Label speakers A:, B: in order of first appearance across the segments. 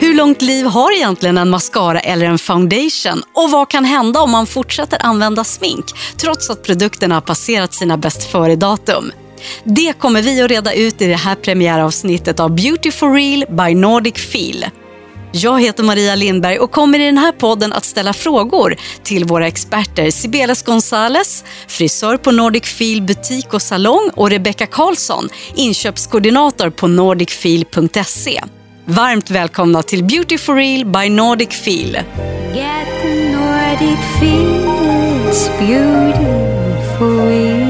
A: långt liv har egentligen en mascara eller en foundation? Och vad kan hända om man fortsätter använda smink trots att produkterna har passerat sina bäst före-datum? Det kommer vi att reda ut i det här premiäravsnittet av Beauty for Real by Nordic Feel. Jag heter Maria Lindberg och kommer i den här podden att ställa frågor till våra experter Sibeles Gonzales, frisör på Nordic Feel butik och salong och Rebecca Karlsson, inköpskoordinator på nordicfeel.se. Varmt välkomna till Beauty for Real by Nordic Feel.
B: Get the Nordic feels beautiful.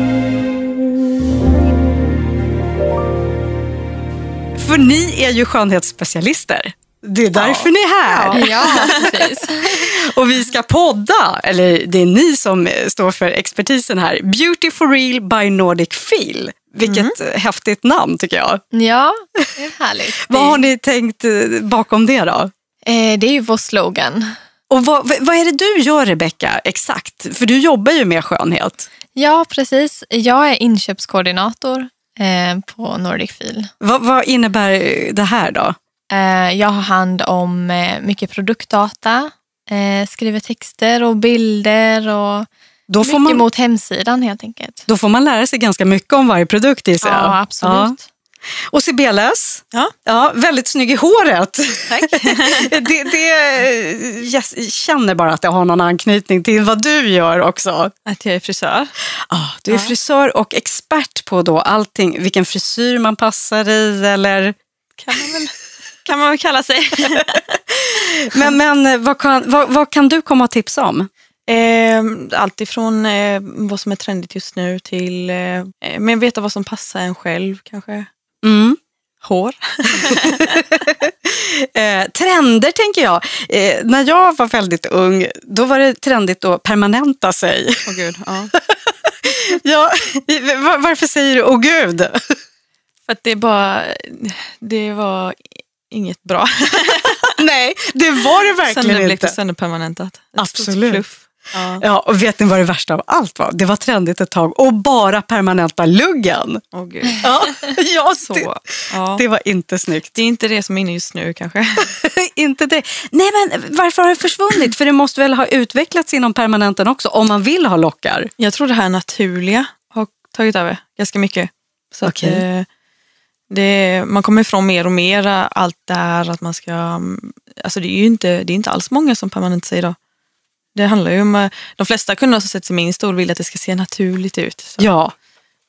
A: För ni är ju skönhetsspecialister. Det är därför ni är här.
C: Ja, precis.
A: Och vi ska podda, eller det är ni som eh, står för expertisen här, Beauty for Real by Nordic Feel. Vilket
C: Mhm.
A: mm. häftigt namn tycker jag.
C: Ja, det är härligt.
A: Vad har ni tänkt eh, bakom det då?
C: Eh, Det är ju vår slogan.
A: Och vad, vad är det du gör Rebecca exakt? För du jobbar ju med skönhet.
C: Ja, precis. Jag är inköpskoordinator eh, på Nordic Feel.
A: Vad, vad innebär det här då?
C: Eh, Jag har hand om eh, mycket produktdata, eh, skriver texter och bilder och
A: Då får,
C: mycket
A: man,
C: mot hemsidan helt enkelt.
A: då får man lära sig ganska mycket om varje produkt i sig.
C: Ja, absolut.
A: Och Sibeles,
D: Ja.
A: Ja, väldigt snygg i håret.
D: Tack.
A: det, det, eh, jag känner bara att det har någon anknytning till vad du gör också.
D: Att jag är frisör.
A: Ah, du är frisör och expert på då allting, vilken frisyr man passar i eller...
D: Kan man väl, kan man väl kalla sig.
A: Men, men eh, vad, kan, vad, vad kan du komma att tipsa om?
D: Eh, allt ifrån eh, vad som är trendigt just nu till eh, men veta vad som passar en själv kanske.
A: Mm.
D: Hår.
A: Eh, trender tänker jag. Eh, när jag var väldigt ung, då var det trendigt att permanenta sig.
D: Åh gud, ja.
A: ja, var- varför säger du åh gud?
D: För att det är bara, det var inget bra.
A: Nej, det var det
D: Sen det
A: verkligen
D: blev
A: inte.
D: det sönderpermanentat. Ett stort
A: Absolut.
D: Fluff. Ja.
A: Ja, och vet ni vad det värsta av allt var? Det var trendigt ett tag att bara permanenta luggen.
D: Åh gud.
A: Ja, ja
D: Så,
A: Det,
D: ja.
A: det var inte snyggt.
D: Det är inte det som är inne just nu kanske.
A: inte det. Nej, men varför har det försvunnit? För det måste väl ha utvecklats inom permanenten också, om man vill ha lockar.
D: Jag tror det här naturliga har tagit över ganska mycket. Så att,
A: Okej.
D: eh, det, man kommer ifrån mer och mer eh, allt det här att man ska... mm, Alltså det är ju inte, det är inte alls många som permanent säger idag. Det handlar ju om... eh, De flesta kunder som sätter sig i min stol vill att det ska se naturligt ut. Så
A: Ja.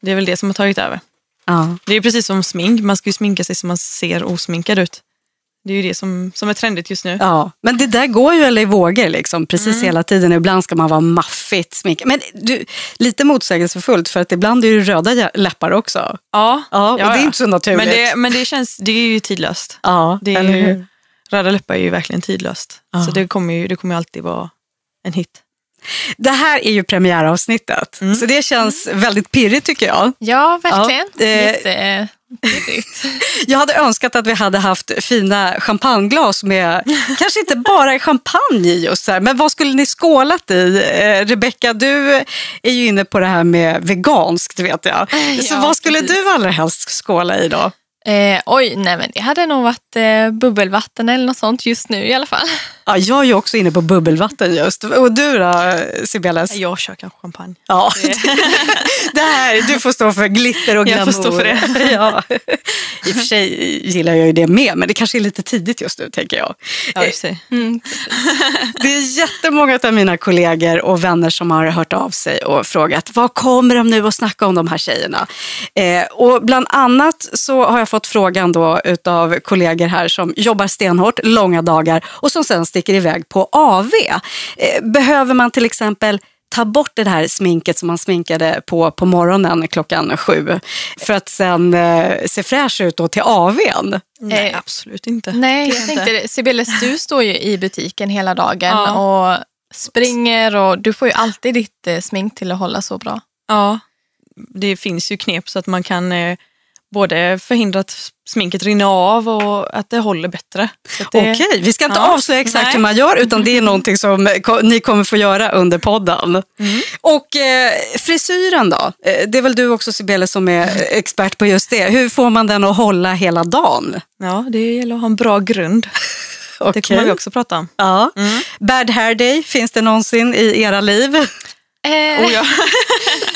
D: Det är väl det som har tagit över.
A: ja.
D: Det är ju precis som smink, man ska ju sminka sig så man ser osminkad ut. Det är ju det som, som är trendigt just nu.
A: Ja, men det där går ju eller i vågor liksom, precis hela tiden. Ibland ska man vara maffigt sminkad. Men du, lite motsägelsefullt för att ibland är det röda jä- läppar också.
D: Ja,
A: Ja, och det är inte så naturligt.
D: Men det, men det känns, det är ju tidlöst.
A: Ja,
D: Det är
A: eller hur?
D: ju, röda läppar är ju verkligen tidlöst.
A: Ja.
D: Så det kommer ju det kommer ju alltid vara en hit.
A: Det här är ju premiäravsnittet,
C: Mm.
A: så det känns väldigt pirrigt tycker jag.
C: Ja, verkligen.
A: Ja, eh,
C: Jätte- tidigt.
A: Jag hade önskat att vi hade haft fina champagneglas med, kanske inte bara champagne i just så här, men vad skulle ni skålat i? Eh, Rebecca, du är ju inne på det här med veganskt vet jag.
C: Eh,
A: Så
C: ja,
A: vad skulle
C: precis.
A: du allra helst skåla i då?
C: Eh, oj, nej men det hade nog varit eh, bubbelvatten eller något sånt just nu i alla fall.
A: Ja, jag är ju också inne på bubbelvatten just. Och du då, Sibeles?
D: Jag kör kanske champagne.
A: Ja. Det här, du får stå för glitter och glamour.
D: Eh. Jag får stå för det.
A: ja. I och för sig gillar jag ju det med, men det kanske är lite tidigt just nu, tänker jag.
D: Ja,
C: Eh,
D: i och för sig.
C: mm,
A: Det är jättemånga av mina kollegor och vänner som har hört av sig och frågat vad kommer de nu att snacka om de här tjejerna? Eh, och bland annat så har jag fått frågan då utav kollegor här som jobbar stenhårt, långa dagar och som sen sticker iväg på AV. Eh, behöver man till exempel ta bort det här sminket som man sminkade på på morgonen klockan sju för att sen eh, se fräsch ut då till AVn?
D: Nej,
C: Eh,
D: absolut inte.
C: Nej, jag tänkte det. Sibylle, du står ju i butiken hela dagen och springer och du får ju alltid ditt eh, smink till att hålla så bra.
D: Ja, det finns ju knep så att man kan eh, både förhindra att sminket rinner av och att det håller bättre. Så att det,
A: Okej, vi ska inte
D: Ja.
A: avslöja exakt
D: Nej.
A: hur man gör utan det är någonting som ko- ni kommer få göra under podden.
D: Mm.
A: Och eh, frisyren då? Eh, Det är väl du också Sibele som är expert på just det. Hur får man den att hålla hela dagen?
D: Ja, det gäller att ha en bra grund. Det kommer
A: Okej.
D: vi också prata om.
A: Ja.
D: Mm.
A: Bad hair day, finns det någonsin i era liv?
C: Eh,
D: Oh, ja.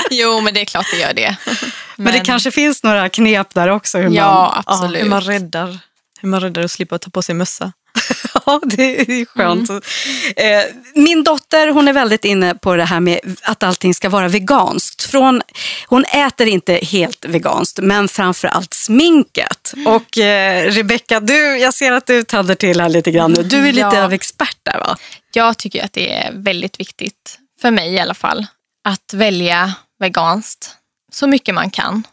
C: jo, men det är klart det gör det.
A: Men, det kanske finns några knep där också. Hur
C: Ja,
A: man,
C: absolut.
D: Hur man räddar, hur man räddar att slippa ta på sig mössa.
A: Ja, det är skönt. Eh, Min dotter hon är väldigt inne på det här med att allting ska vara veganskt. Från, hon äter inte helt veganskt, men framför allt sminket. Och eh, Rebecca, du, jag ser att du tänder till här lite grann nu. Du är lite
C: Ja.
A: av expert där va?
C: Jag tycker att det är väldigt viktigt, för mig i alla fall, att välja veganskt så mycket man kan.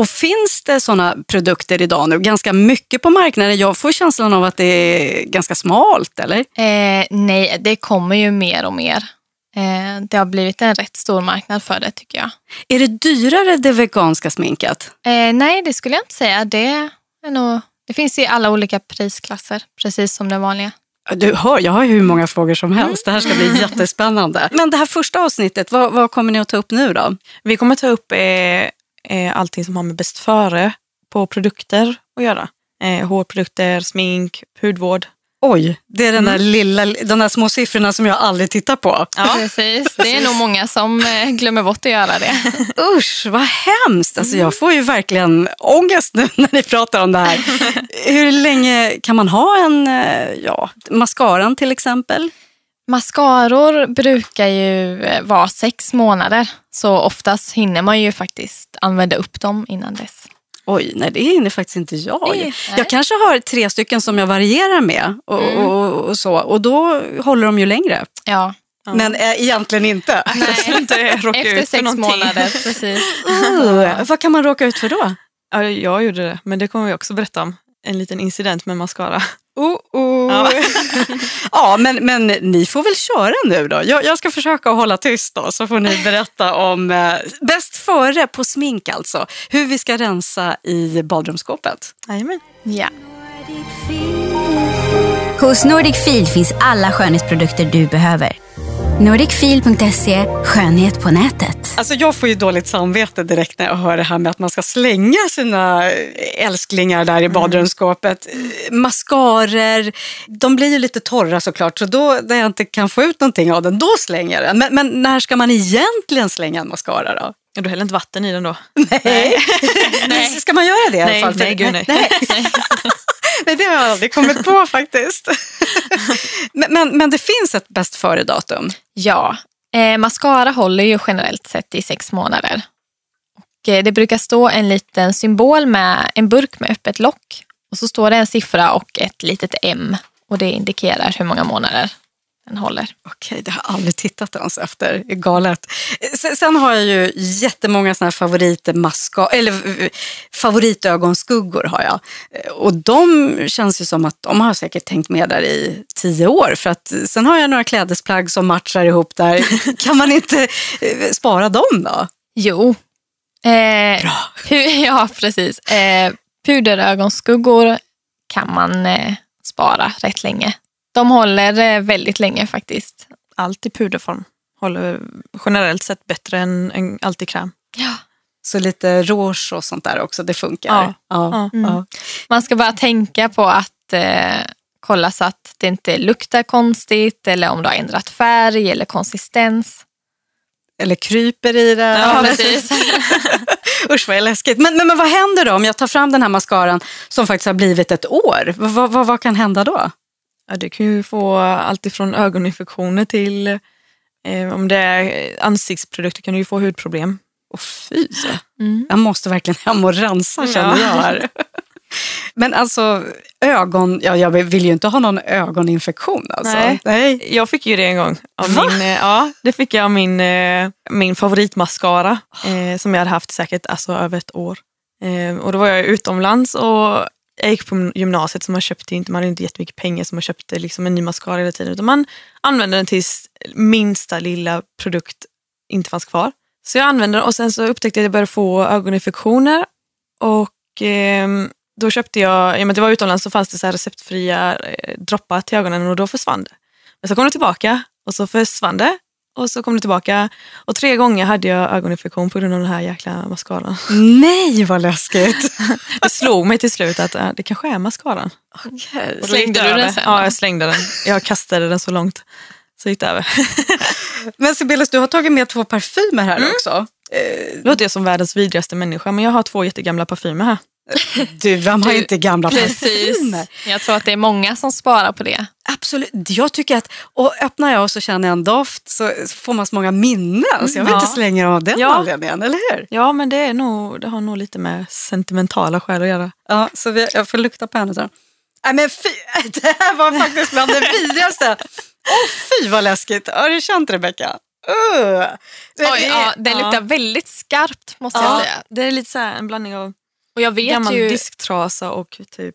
A: Och finns det sådana produkter idag nu? Ganska mycket på marknaden. Jag får känslan av att det är ganska smalt, eller?
C: Eh, nej, det kommer ju mer och mer. Eh, det har blivit en rätt stor marknad för det tycker jag.
A: Är det dyrare det veganska sminket?
C: Eh, nej, det skulle jag inte säga. Det, är nog, det finns i alla olika prisklasser, precis som det vanliga.
A: Du hör, jag har ju hur många frågor som helst. Det här ska bli jättespännande. Mm. Men det här första avsnittet, vad, vad kommer ni att ta upp nu då?
D: Vi kommer ta upp eh, eh, allting som har med bäst före på produkter att göra. Eh, hårprodukter, smink, hudvård.
A: Oj, det är den där lilla, de där små siffrorna som jag aldrig tittar på.
C: Precis. Det är nog många som eh, glömmer bort att göra det.
A: Usch, vad hemskt! Alltså, jag får ju verkligen ångest nu när ni pratar om det här. Hur länge kan man ha en, eh, ja, mascaran till exempel?
C: Mascaror brukar ju eh, vara sex månader, så oftast hinner man ju faktiskt använda upp dem innan dess.
A: Oj, nej det hinner faktiskt inte jag.
C: Nej.
A: Jag kanske har tre stycken som jag varierar med och, och, och så. Och då håller de ju längre.
C: Ja,
D: Ja.
A: Men eh, egentligen inte.
C: Nej.
D: Så att inte råka
C: efter
D: ut för
C: sex
D: någonting.
C: månader. Precis.
A: Oh, vad kan man råka ut för då?
D: Ja, jag gjorde det, men det kommer vi också berätta om. En liten incident med mascara.
A: Oh, oh. Ja.
D: Ja.
A: men, men ni får väl köra nu då. Jag, jag ska försöka att hålla tyst då, så får ni berätta om eh, bäst före på smink alltså. Hur vi ska rensa i badrumsskåpet.
D: Jajamän.
C: Ja.
B: Hos Nordic Field finns alla skönhetsprodukter du behöver. Nordicfield.se, skönhet på nätet.
A: Alltså jag får ju dåligt samvete direkt när jag hör det här med att man ska slänga sina eh, älsklingar där i badrumsskåpet. Eh, Mascarer, de blir ju lite torra såklart, så då när jag inte kan få ut någonting av den, då slänger jag den. Men, men när ska man egentligen slänga en mascara då?
D: Ja, Du häller inte vatten i den då?
A: Nej. nej. Ska man göra det i alla
D: Nej,
A: fall?
D: nej, gud, nej.
A: Nej, det har jag aldrig kommit på faktiskt. men, men, men det finns ett bäst före-datum.
C: Ja, eh, mascara håller ju generellt sett i sex månader. Och, eh, det brukar stå en liten symbol med en burk med öppet lock och så står det en siffra och ett litet M och det indikerar hur många månader den håller.
A: Okej, det har jag aldrig tittat ens efter. Det är galet. Sen, sen har jag ju jättemånga såna här favoritmaska, eller eh, favoritögonskuggor har jag. Eh, Och de känns ju som att de har säkert tänkt med där i tio år. För att eh, sen har jag några klädesplagg som matchar ihop där. kan man inte eh, spara dem då?
C: Jo. Eh, pu- ja, precis. Eh, puderögonskuggor kan man eh, spara rätt länge. De håller eh, väldigt länge faktiskt.
D: Allt i puderform håller generellt sett bättre än, än allt i kräm.
C: Ja.
A: Så lite rouge och sånt där också, det funkar.
D: Ja.
A: Ja.
D: Ja.
A: Ja.
C: Man ska bara tänka på att eh, kolla så att det inte luktar konstigt eller om du har ändrat färg eller konsistens.
A: Eller kryper i det. Usch vad är läskigt. Men, men, men vad händer då om jag tar fram den här mascaran som faktiskt har blivit ett år? Vad, vad, vad, vad kan hända då?
D: Ja, du kan ju få allt ifrån ögoninfektioner till eh, om det är ansiktsprodukter kan du ju få hudproblem.
A: Åh fy, så.
C: Mm.
A: jag måste verkligen hem och rensa
D: Ja.
A: känner jag här. Men alltså ögon, ja, jag vill ju inte ha någon ögoninfektion alltså.
D: Nej.
A: Nej.
D: Jag fick ju det en gång. Av
A: Va?
D: min, eh, ja, det fick jag av min, eh, min favoritmascara eh, som jag hade haft säkert alltså, över ett år. Eh, och då var jag utomlands och jag gick på gymnasiet så man köpte ju inte, man hade inte jättemycket pengar så man köpte liksom en ny mascara hela tiden utan man använde den tills minsta lilla produkt inte fanns kvar. Så jag använde den och sen så upptäckte jag att jag började få ögoninfektioner och ehm, då köpte jag, i och med att det var utomlands så fanns det så här receptfria eh, droppar till ögonen och då försvann det. Men så kom det tillbaka och så försvann det och så kom det tillbaka. Och tre gånger hade jag ögoninfektion på grund av den här jäkla mascaran.
A: Nej, vad läskigt.
D: Det slog mig till slut att äh, det kanske är mascaran.
C: Okay.
D: Och då gick
C: Slängde
D: det
C: du
D: över.
C: den sen?
D: Ja, jag slängde den. Jag kastade den så långt. Så gick det över.
A: Men Sibelius, du har tagit med två parfymer här
C: Mm.
A: också. Eh,
D: Nu låter jag som världens vidrigaste människa men jag har två jättegamla parfymer här.
A: Du, vem har
C: Du-
A: inte gamla
C: Precis.
A: parfymer?
C: Jag tror att det är många som sparar på det.
A: Absolut. Jag tycker att, och öppnar jag och så känner jag en doft så får man så många minnen så jag vill
D: Ja.
A: inte slänga dem av den
D: Ja.
A: anledningen, eller hur?
D: Ja men det, är nog, det har nog lite med sentimentala skäl att göra.
A: Ja, så vi, jag får lukta på henne sen. Nej men fy, det här var faktiskt bland det vidrigaste. Åh fy vad läskigt. Har du känt Rebecka? Uh.
C: Oj, ja, den
D: ja.
C: luktar väldigt skarpt måste jag säga.
D: det är lite så här en blandning av
C: Och jag vet
D: gammal
C: ju...
D: disktrasa och typ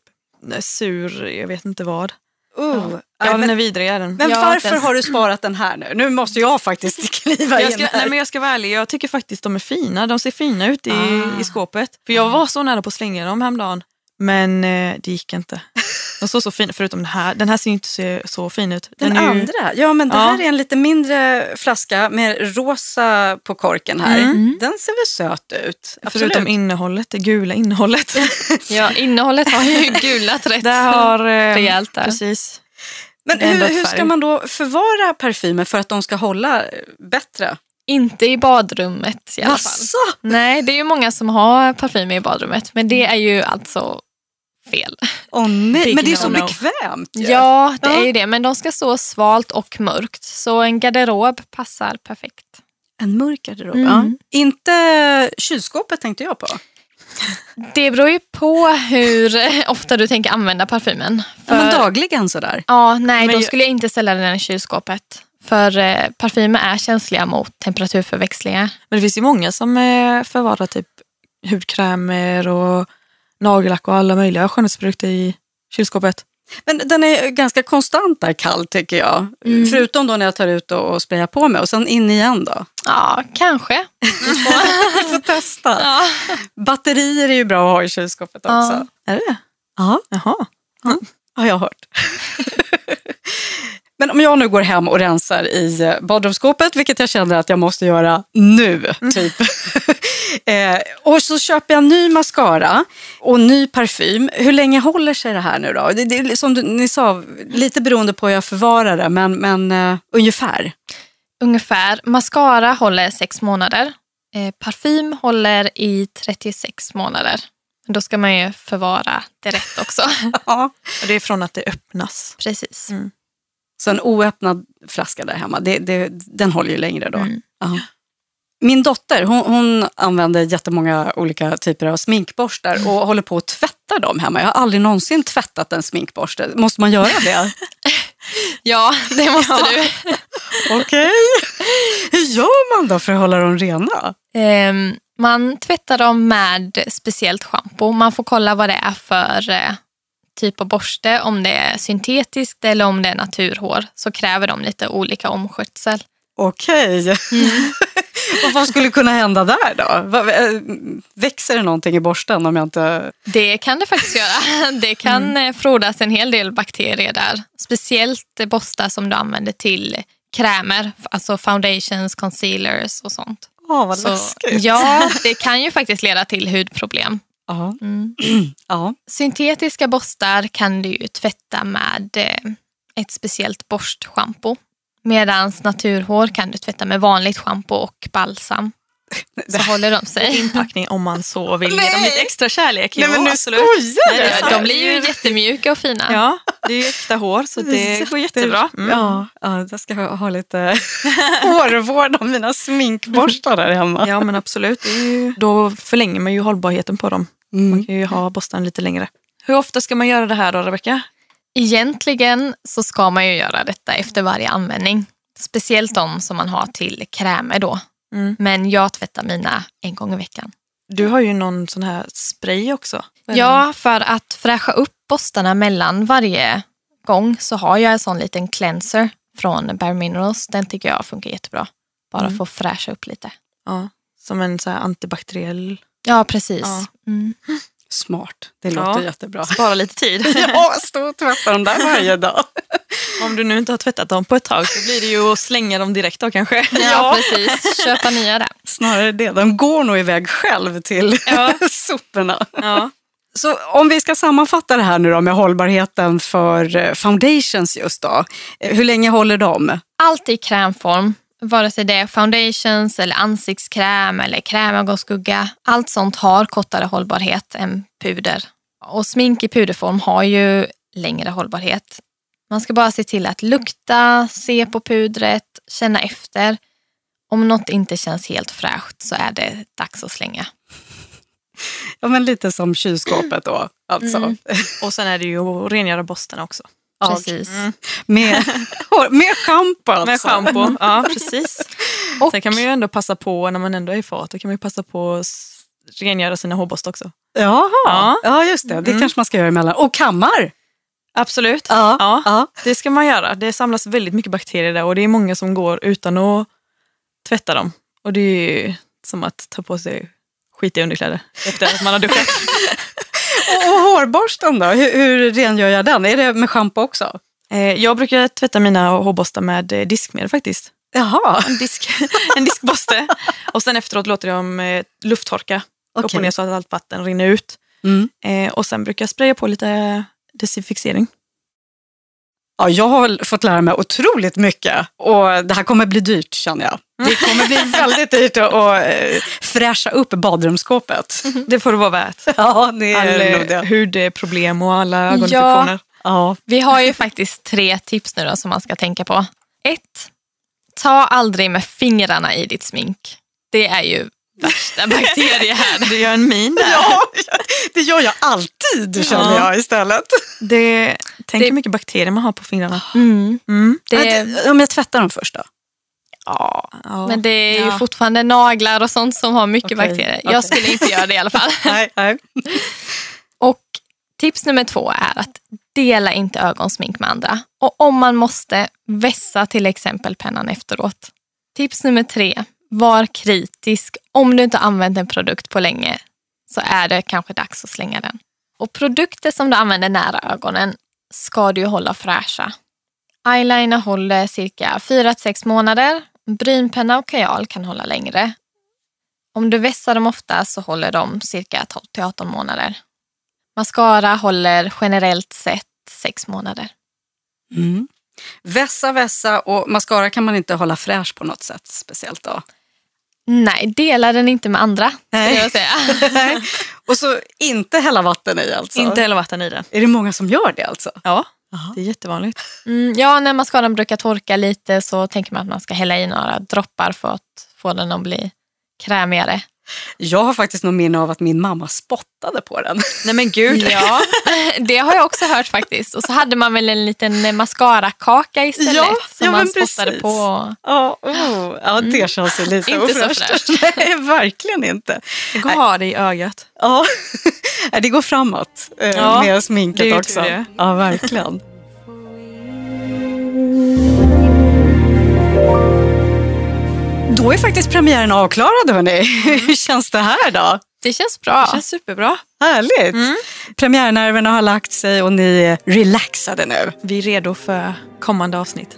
D: sur, jag vet inte vad.
A: uh.
D: Ja,
A: Nej,
D: den är
A: men
D: vidrig är den.
A: men
C: Ja,
A: varför
C: den-
A: har du sparat den här nu? Nu måste jag faktiskt kliva in
D: Jag ska, nej,
A: här.
D: men jag ska vara ärlig, jag tycker faktiskt de är fina. De ser fina ut i,
A: Ah.
D: i skåpet. För jag var så nära på att slänga dem häromdagen. Men eh, det gick inte. De såg så fina förutom den här. Den här ser ju inte så, så fin ut.
A: Den
D: är ju-
A: andra, ja men det
D: Ja.
A: här är en lite mindre flaska med rosa på korken här. Den ser väl söt ut? Absolut.
D: Förutom innehållet, det gula innehållet.
C: Ja, innehållet har ju gulat rätt
D: Där har... Eh,
C: rejält där.
D: Precis.
A: men
D: det är ändå
A: hur,
D: ett
A: hur
D: färg.
A: ska man då förvara parfymer för att de ska hålla eh, bättre?
C: Inte i badrummet i alla fall.
A: Jaså?
C: Nej, det är ju många som har parfym i badrummet, men det är ju alltså fel.
A: Åh nej,
D: Big
A: men det är så
D: no-no.
A: bekvämt ju.
C: Ja, det
A: Ja.
C: är ju det. Men de ska stå svalt och mörkt, så en garderob passar perfekt.
A: En mörk garderob.
C: Mm.
A: Ja. Inte kylskåpet tänkte jag på.
C: Det beror ju på hur ofta du tänker använda parfymen.
A: Ja, men
C: För-
A: dagligen sådär.
C: Ja, nej,
D: Men
C: då
D: ju-
C: skulle jag inte ställa den i kylskåpet. För eh, parfymer är känsliga mot temperaturförväxlingar.
D: Men det finns ju många som eh, förvarar typ hudkrämer och nagellack och alla möjliga skönhetsprodukter i kylskåpet.
A: Men den är ganska konstant där kall tycker jag. Förutom då när jag tar ut och, och sprayar på mig och sen in igen då.
C: Ja, kanske.
A: Vi får testa.
C: Ja.
A: Batterier är ju bra att ha i kylskåpet också.
C: Ja.
D: Är det det?
A: Ja,
D: Jaha.
A: har jag hört. Men om jag nu går hem och rensar i eh, badrumsskåpet, vilket jag känner att jag måste göra nu,
C: Mm.
A: typ. eh, och så köper jag ny mascara och ny parfym. Hur länge håller sig det här nu då? Det, det, är som du, ni sa, lite beroende på hur jag förvarar det, men, men eh, ungefär.
C: Ungefär. Mascara håller sex månader. Eh, parfym håller i 36 månader. Men Då ska man ju förvara det rätt också. Mm.
A: Ja.
D: Och det är från att det öppnas.
C: Precis.
A: Så en oöppnad flaska där hemma, det, det, den håller ju längre då.
C: Mm.
A: Ja. Min dotter hon, hon använder jättemånga olika typer av sminkborstar och håller på att tvätta dem hemma. Jag har aldrig någonsin tvättat en sminkborste. Måste man göra det?
C: Ja, det måste du.
A: Okej. Hur gör man då för att hålla dem rena?
C: Ehm, man tvättar dem med speciellt schampo. Man får kolla vad det är för eh, typ av borste. Om det är syntetiskt eller om det är naturhår så kräver de lite olika omskötsel.
A: Okej. Mm. och vad skulle kunna hända där då? Vad- eh, Växer det någonting i borsten om jag inte...
C: Det kan det faktiskt göra. Det kan
A: Mm.
C: eh, frodas en hel del bakterier där. Speciellt eh, borstar som du använder till krämer, f- alltså foundations, concealers och sånt.
A: Åh, vad
C: Så-
A: läskigt.
C: ja, det kan ju faktiskt leda till hudproblem.
A: Ja.
C: Mm.
A: ja.
C: Syntetiska borstar kan du ju tvätta med eh, ett speciellt borstschampo. Medan naturhår kan du tvätta med vanligt schampo och balsam. Så håller de sig.
D: Inpackning om man så vill. Ge dem
A: Nej.
D: lite extra kärlek.
A: Nej
D: Jo,
A: men nu
D: absolut.
A: skojar du!
D: Nej,
C: Ja, De blir ju jättemjuka och fina.
D: Ja, det är ju äkta hår så det går jättebra. Mm.
A: Ja, ja, jag ska ha ha lite hårvård av mina sminkborstar där hemma.
D: Ja men absolut. Det är ju, då förlänger man ju hållbarheten på dem.
A: Mm.
D: Man kan ju ha borsten lite längre. Hur ofta ska man göra det här då Rebecka?
C: Egentligen så ska man ju göra detta efter varje användning. Speciellt de som man har till krämer då.
D: Mm.
C: Men jag tvättar mina en gång i veckan.
D: Du har ju någon sån här spray också. Vad är
C: Ja, för att fräscha upp borstarna mellan varje gång så har jag en sån liten cleanser från Bare Minerals. Den tycker jag funkar jättebra. Bara för att fräscha upp lite.
D: det? Ja, som en så här antibakteriell.
C: Ja, precis.
D: Ja.
C: Mm.
A: Smart, det
D: Ja.
A: låter jättebra.
D: Spara lite tid.
A: Ja, stå och tvätta dem där varje dag.
D: Om du nu inte har tvättat dem på ett tag så blir det ju att slänga dem direkt då kanske.
C: Ja, precis. Köpa nya där.
A: Snarare det, de går nog iväg själv till soporna.
D: Ja.
A: Så om vi ska sammanfatta det här nu då med hållbarheten för eh, foundations just då. Eh, Hur länge håller de?
C: Allt i krämform, vare sig det är foundations eller ansiktskräm eller krämögonskugga. Allt sånt har kortare hållbarhet än puder. Och smink i puderform har ju längre hållbarhet. Man ska bara se till att lukta, se på pudret, känna efter. Om något inte känns helt fräscht så är det dags att slänga.
A: Ja, men lite som kylskåpet då. Alltså.
D: Mm. Och sen är det ju att rengöra borsten också.
C: Precis.
A: Med, med schampo alltså.
D: Med schampo. Ja, precis.
C: Och-
D: Sen kan man ju ändå passa på, när man ändå är i fart, då kan man ju passa på att s- rengöra sina hårborstar också.
A: Jaha, ja.
D: Ja.
A: just det. Det kanske man ska göra emellan. Och kammar.
D: Absolut.
A: Ja,
D: Ja.
A: ja.
D: Det ska man göra. Det samlas väldigt mycket bakterier där och det är många som går utan att tvätta dem. Och det är ju som att ta på sig skitiga underkläder efter att man har duschat.
A: Och, och hårborsten då? Hur, hur rengör jag den? Är det med schampo också?
D: Eh, Jag brukar tvätta mina hårborstar med eh, diskmedel faktiskt.
A: Jaha,
D: En, disk, en diskborste. Och sen efteråt låter jag dem eh, lufttorka upp
A: Okej.
D: och ner så att allt vatten rinner ut.
A: Mm.
D: Eh, Och sen brukar jag spraya på lite desinficering.
A: Ja, jag har fått lära mig otroligt mycket och det här kommer bli dyrt känner jag. Det kommer bli väldigt dyrt att att, eh, fräscha upp badrumsskåpet.
D: Det får det vara värt.
A: Ja, Mm. det
D: All
A: är nog
D: eh,
A: det.
D: hudproblem och alla ögoninfektioner.
A: Ja.
C: Vi har ju faktiskt tre tips nu då som man ska tänka på. Ett, ta aldrig med fingrarna i ditt smink. Det är ju värsta bakterier här.
D: Du gör en min där.
A: ja, det gör jag alltid känner
D: Ja.
A: jag istället.
D: Det, tänk
C: Det-
D: hur mycket bakterier man har på fingrarna.
A: Ah.
C: Mm.
A: Ja,
C: Det,
A: det- Om jag tvättar dem först då?
D: Ja.
C: men det är ju
D: Ja.
C: fortfarande naglar och sånt som har mycket
A: Okej,
C: bakterier.
A: okej.
C: Jag skulle inte göra det i alla fall.
A: Nej, nej.
C: Och tips nummer två är att dela inte ögonsmink med andra. Och om man måste, vässa till exempel pennan efteråt. Tips nummer tre, var kritisk. Om du inte har använt en produkt på länge så är det kanske dags att slänga den. Och produkter som du använder nära ögonen ska du ju hålla fräscha. Eyeliner håller cirka 4-6 månader. Brynpenna och kajal kan hålla längre. Om du vässar dem ofta så håller de cirka 12-18 månader. Mascara håller generellt sett sex månader.
A: Mm. Vässa, vässa och mascara kan man inte hålla fräsch på något sätt speciellt då.
C: Nej, dela den inte med andra. Skulle
A: Nej.
C: jag säga.
A: Nej. och så inte hälla vatten i alltså.
D: Inte heller vatten i den.
A: Är det många som gör det alltså?
D: Ja,
A: Jaha.
D: det är jättevanligt.
C: Mm, ja, när mascaran brukar torka lite så tänker man att man ska hälla i några droppar för att få den att bli krämigare.
A: Jag har faktiskt någon minne av att min mamma spottade på den.
D: Nej men gud.
C: Ja, det har jag också hört faktiskt. Och så hade man väl en liten mascarakaka istället
A: Ja,
C: som
A: ja,
C: man
A: men
C: spottade
A: precis.
C: på.
A: Ja, oh, ja det känns ju lite
C: Inte så
A: ofräscht. Nej, verkligen inte.
D: Det går att ha det i ögat.
A: Ja. Nej, det går framåt eh,
D: Ja,
A: med sminket
D: det är ju tur
A: också.
D: det.
A: Ja, verkligen. Då är faktiskt premiären avklarad hörni. Hur känns det här då?
C: Det känns bra.
D: Det känns superbra.
A: Härligt! Premiärnerverna har lagt sig och ni är relaxade nu.
D: Vi är redo för kommande avsnitt.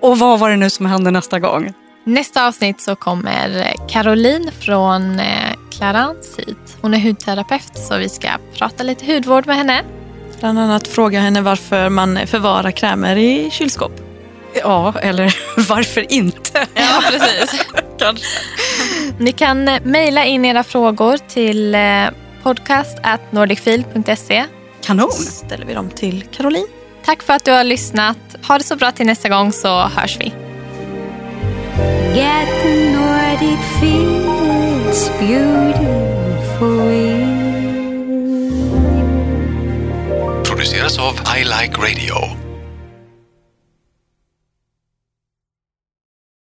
A: Och vad var det nu som hände nästa gång?
C: Nästa avsnitt så kommer Caroline från eh, Clarence hit. Hon är hudterapeut så vi ska prata lite hudvård med henne.
D: Bland annat fråga henne varför man förvarar krämer i kylskåp.
A: Ja, eller varför inte?
C: Ja, precis. Ni kan eh, mejla in era frågor till eh, podcast.nordicfil.se.
A: Kanon!
D: Så ställer vi dem till Caroline.
C: Tack för att du har lyssnat. Ha det så bra till nästa gång så hörs vi.
B: Get the Nordic feel, it's beautiful.
E: produceras av I Like Radio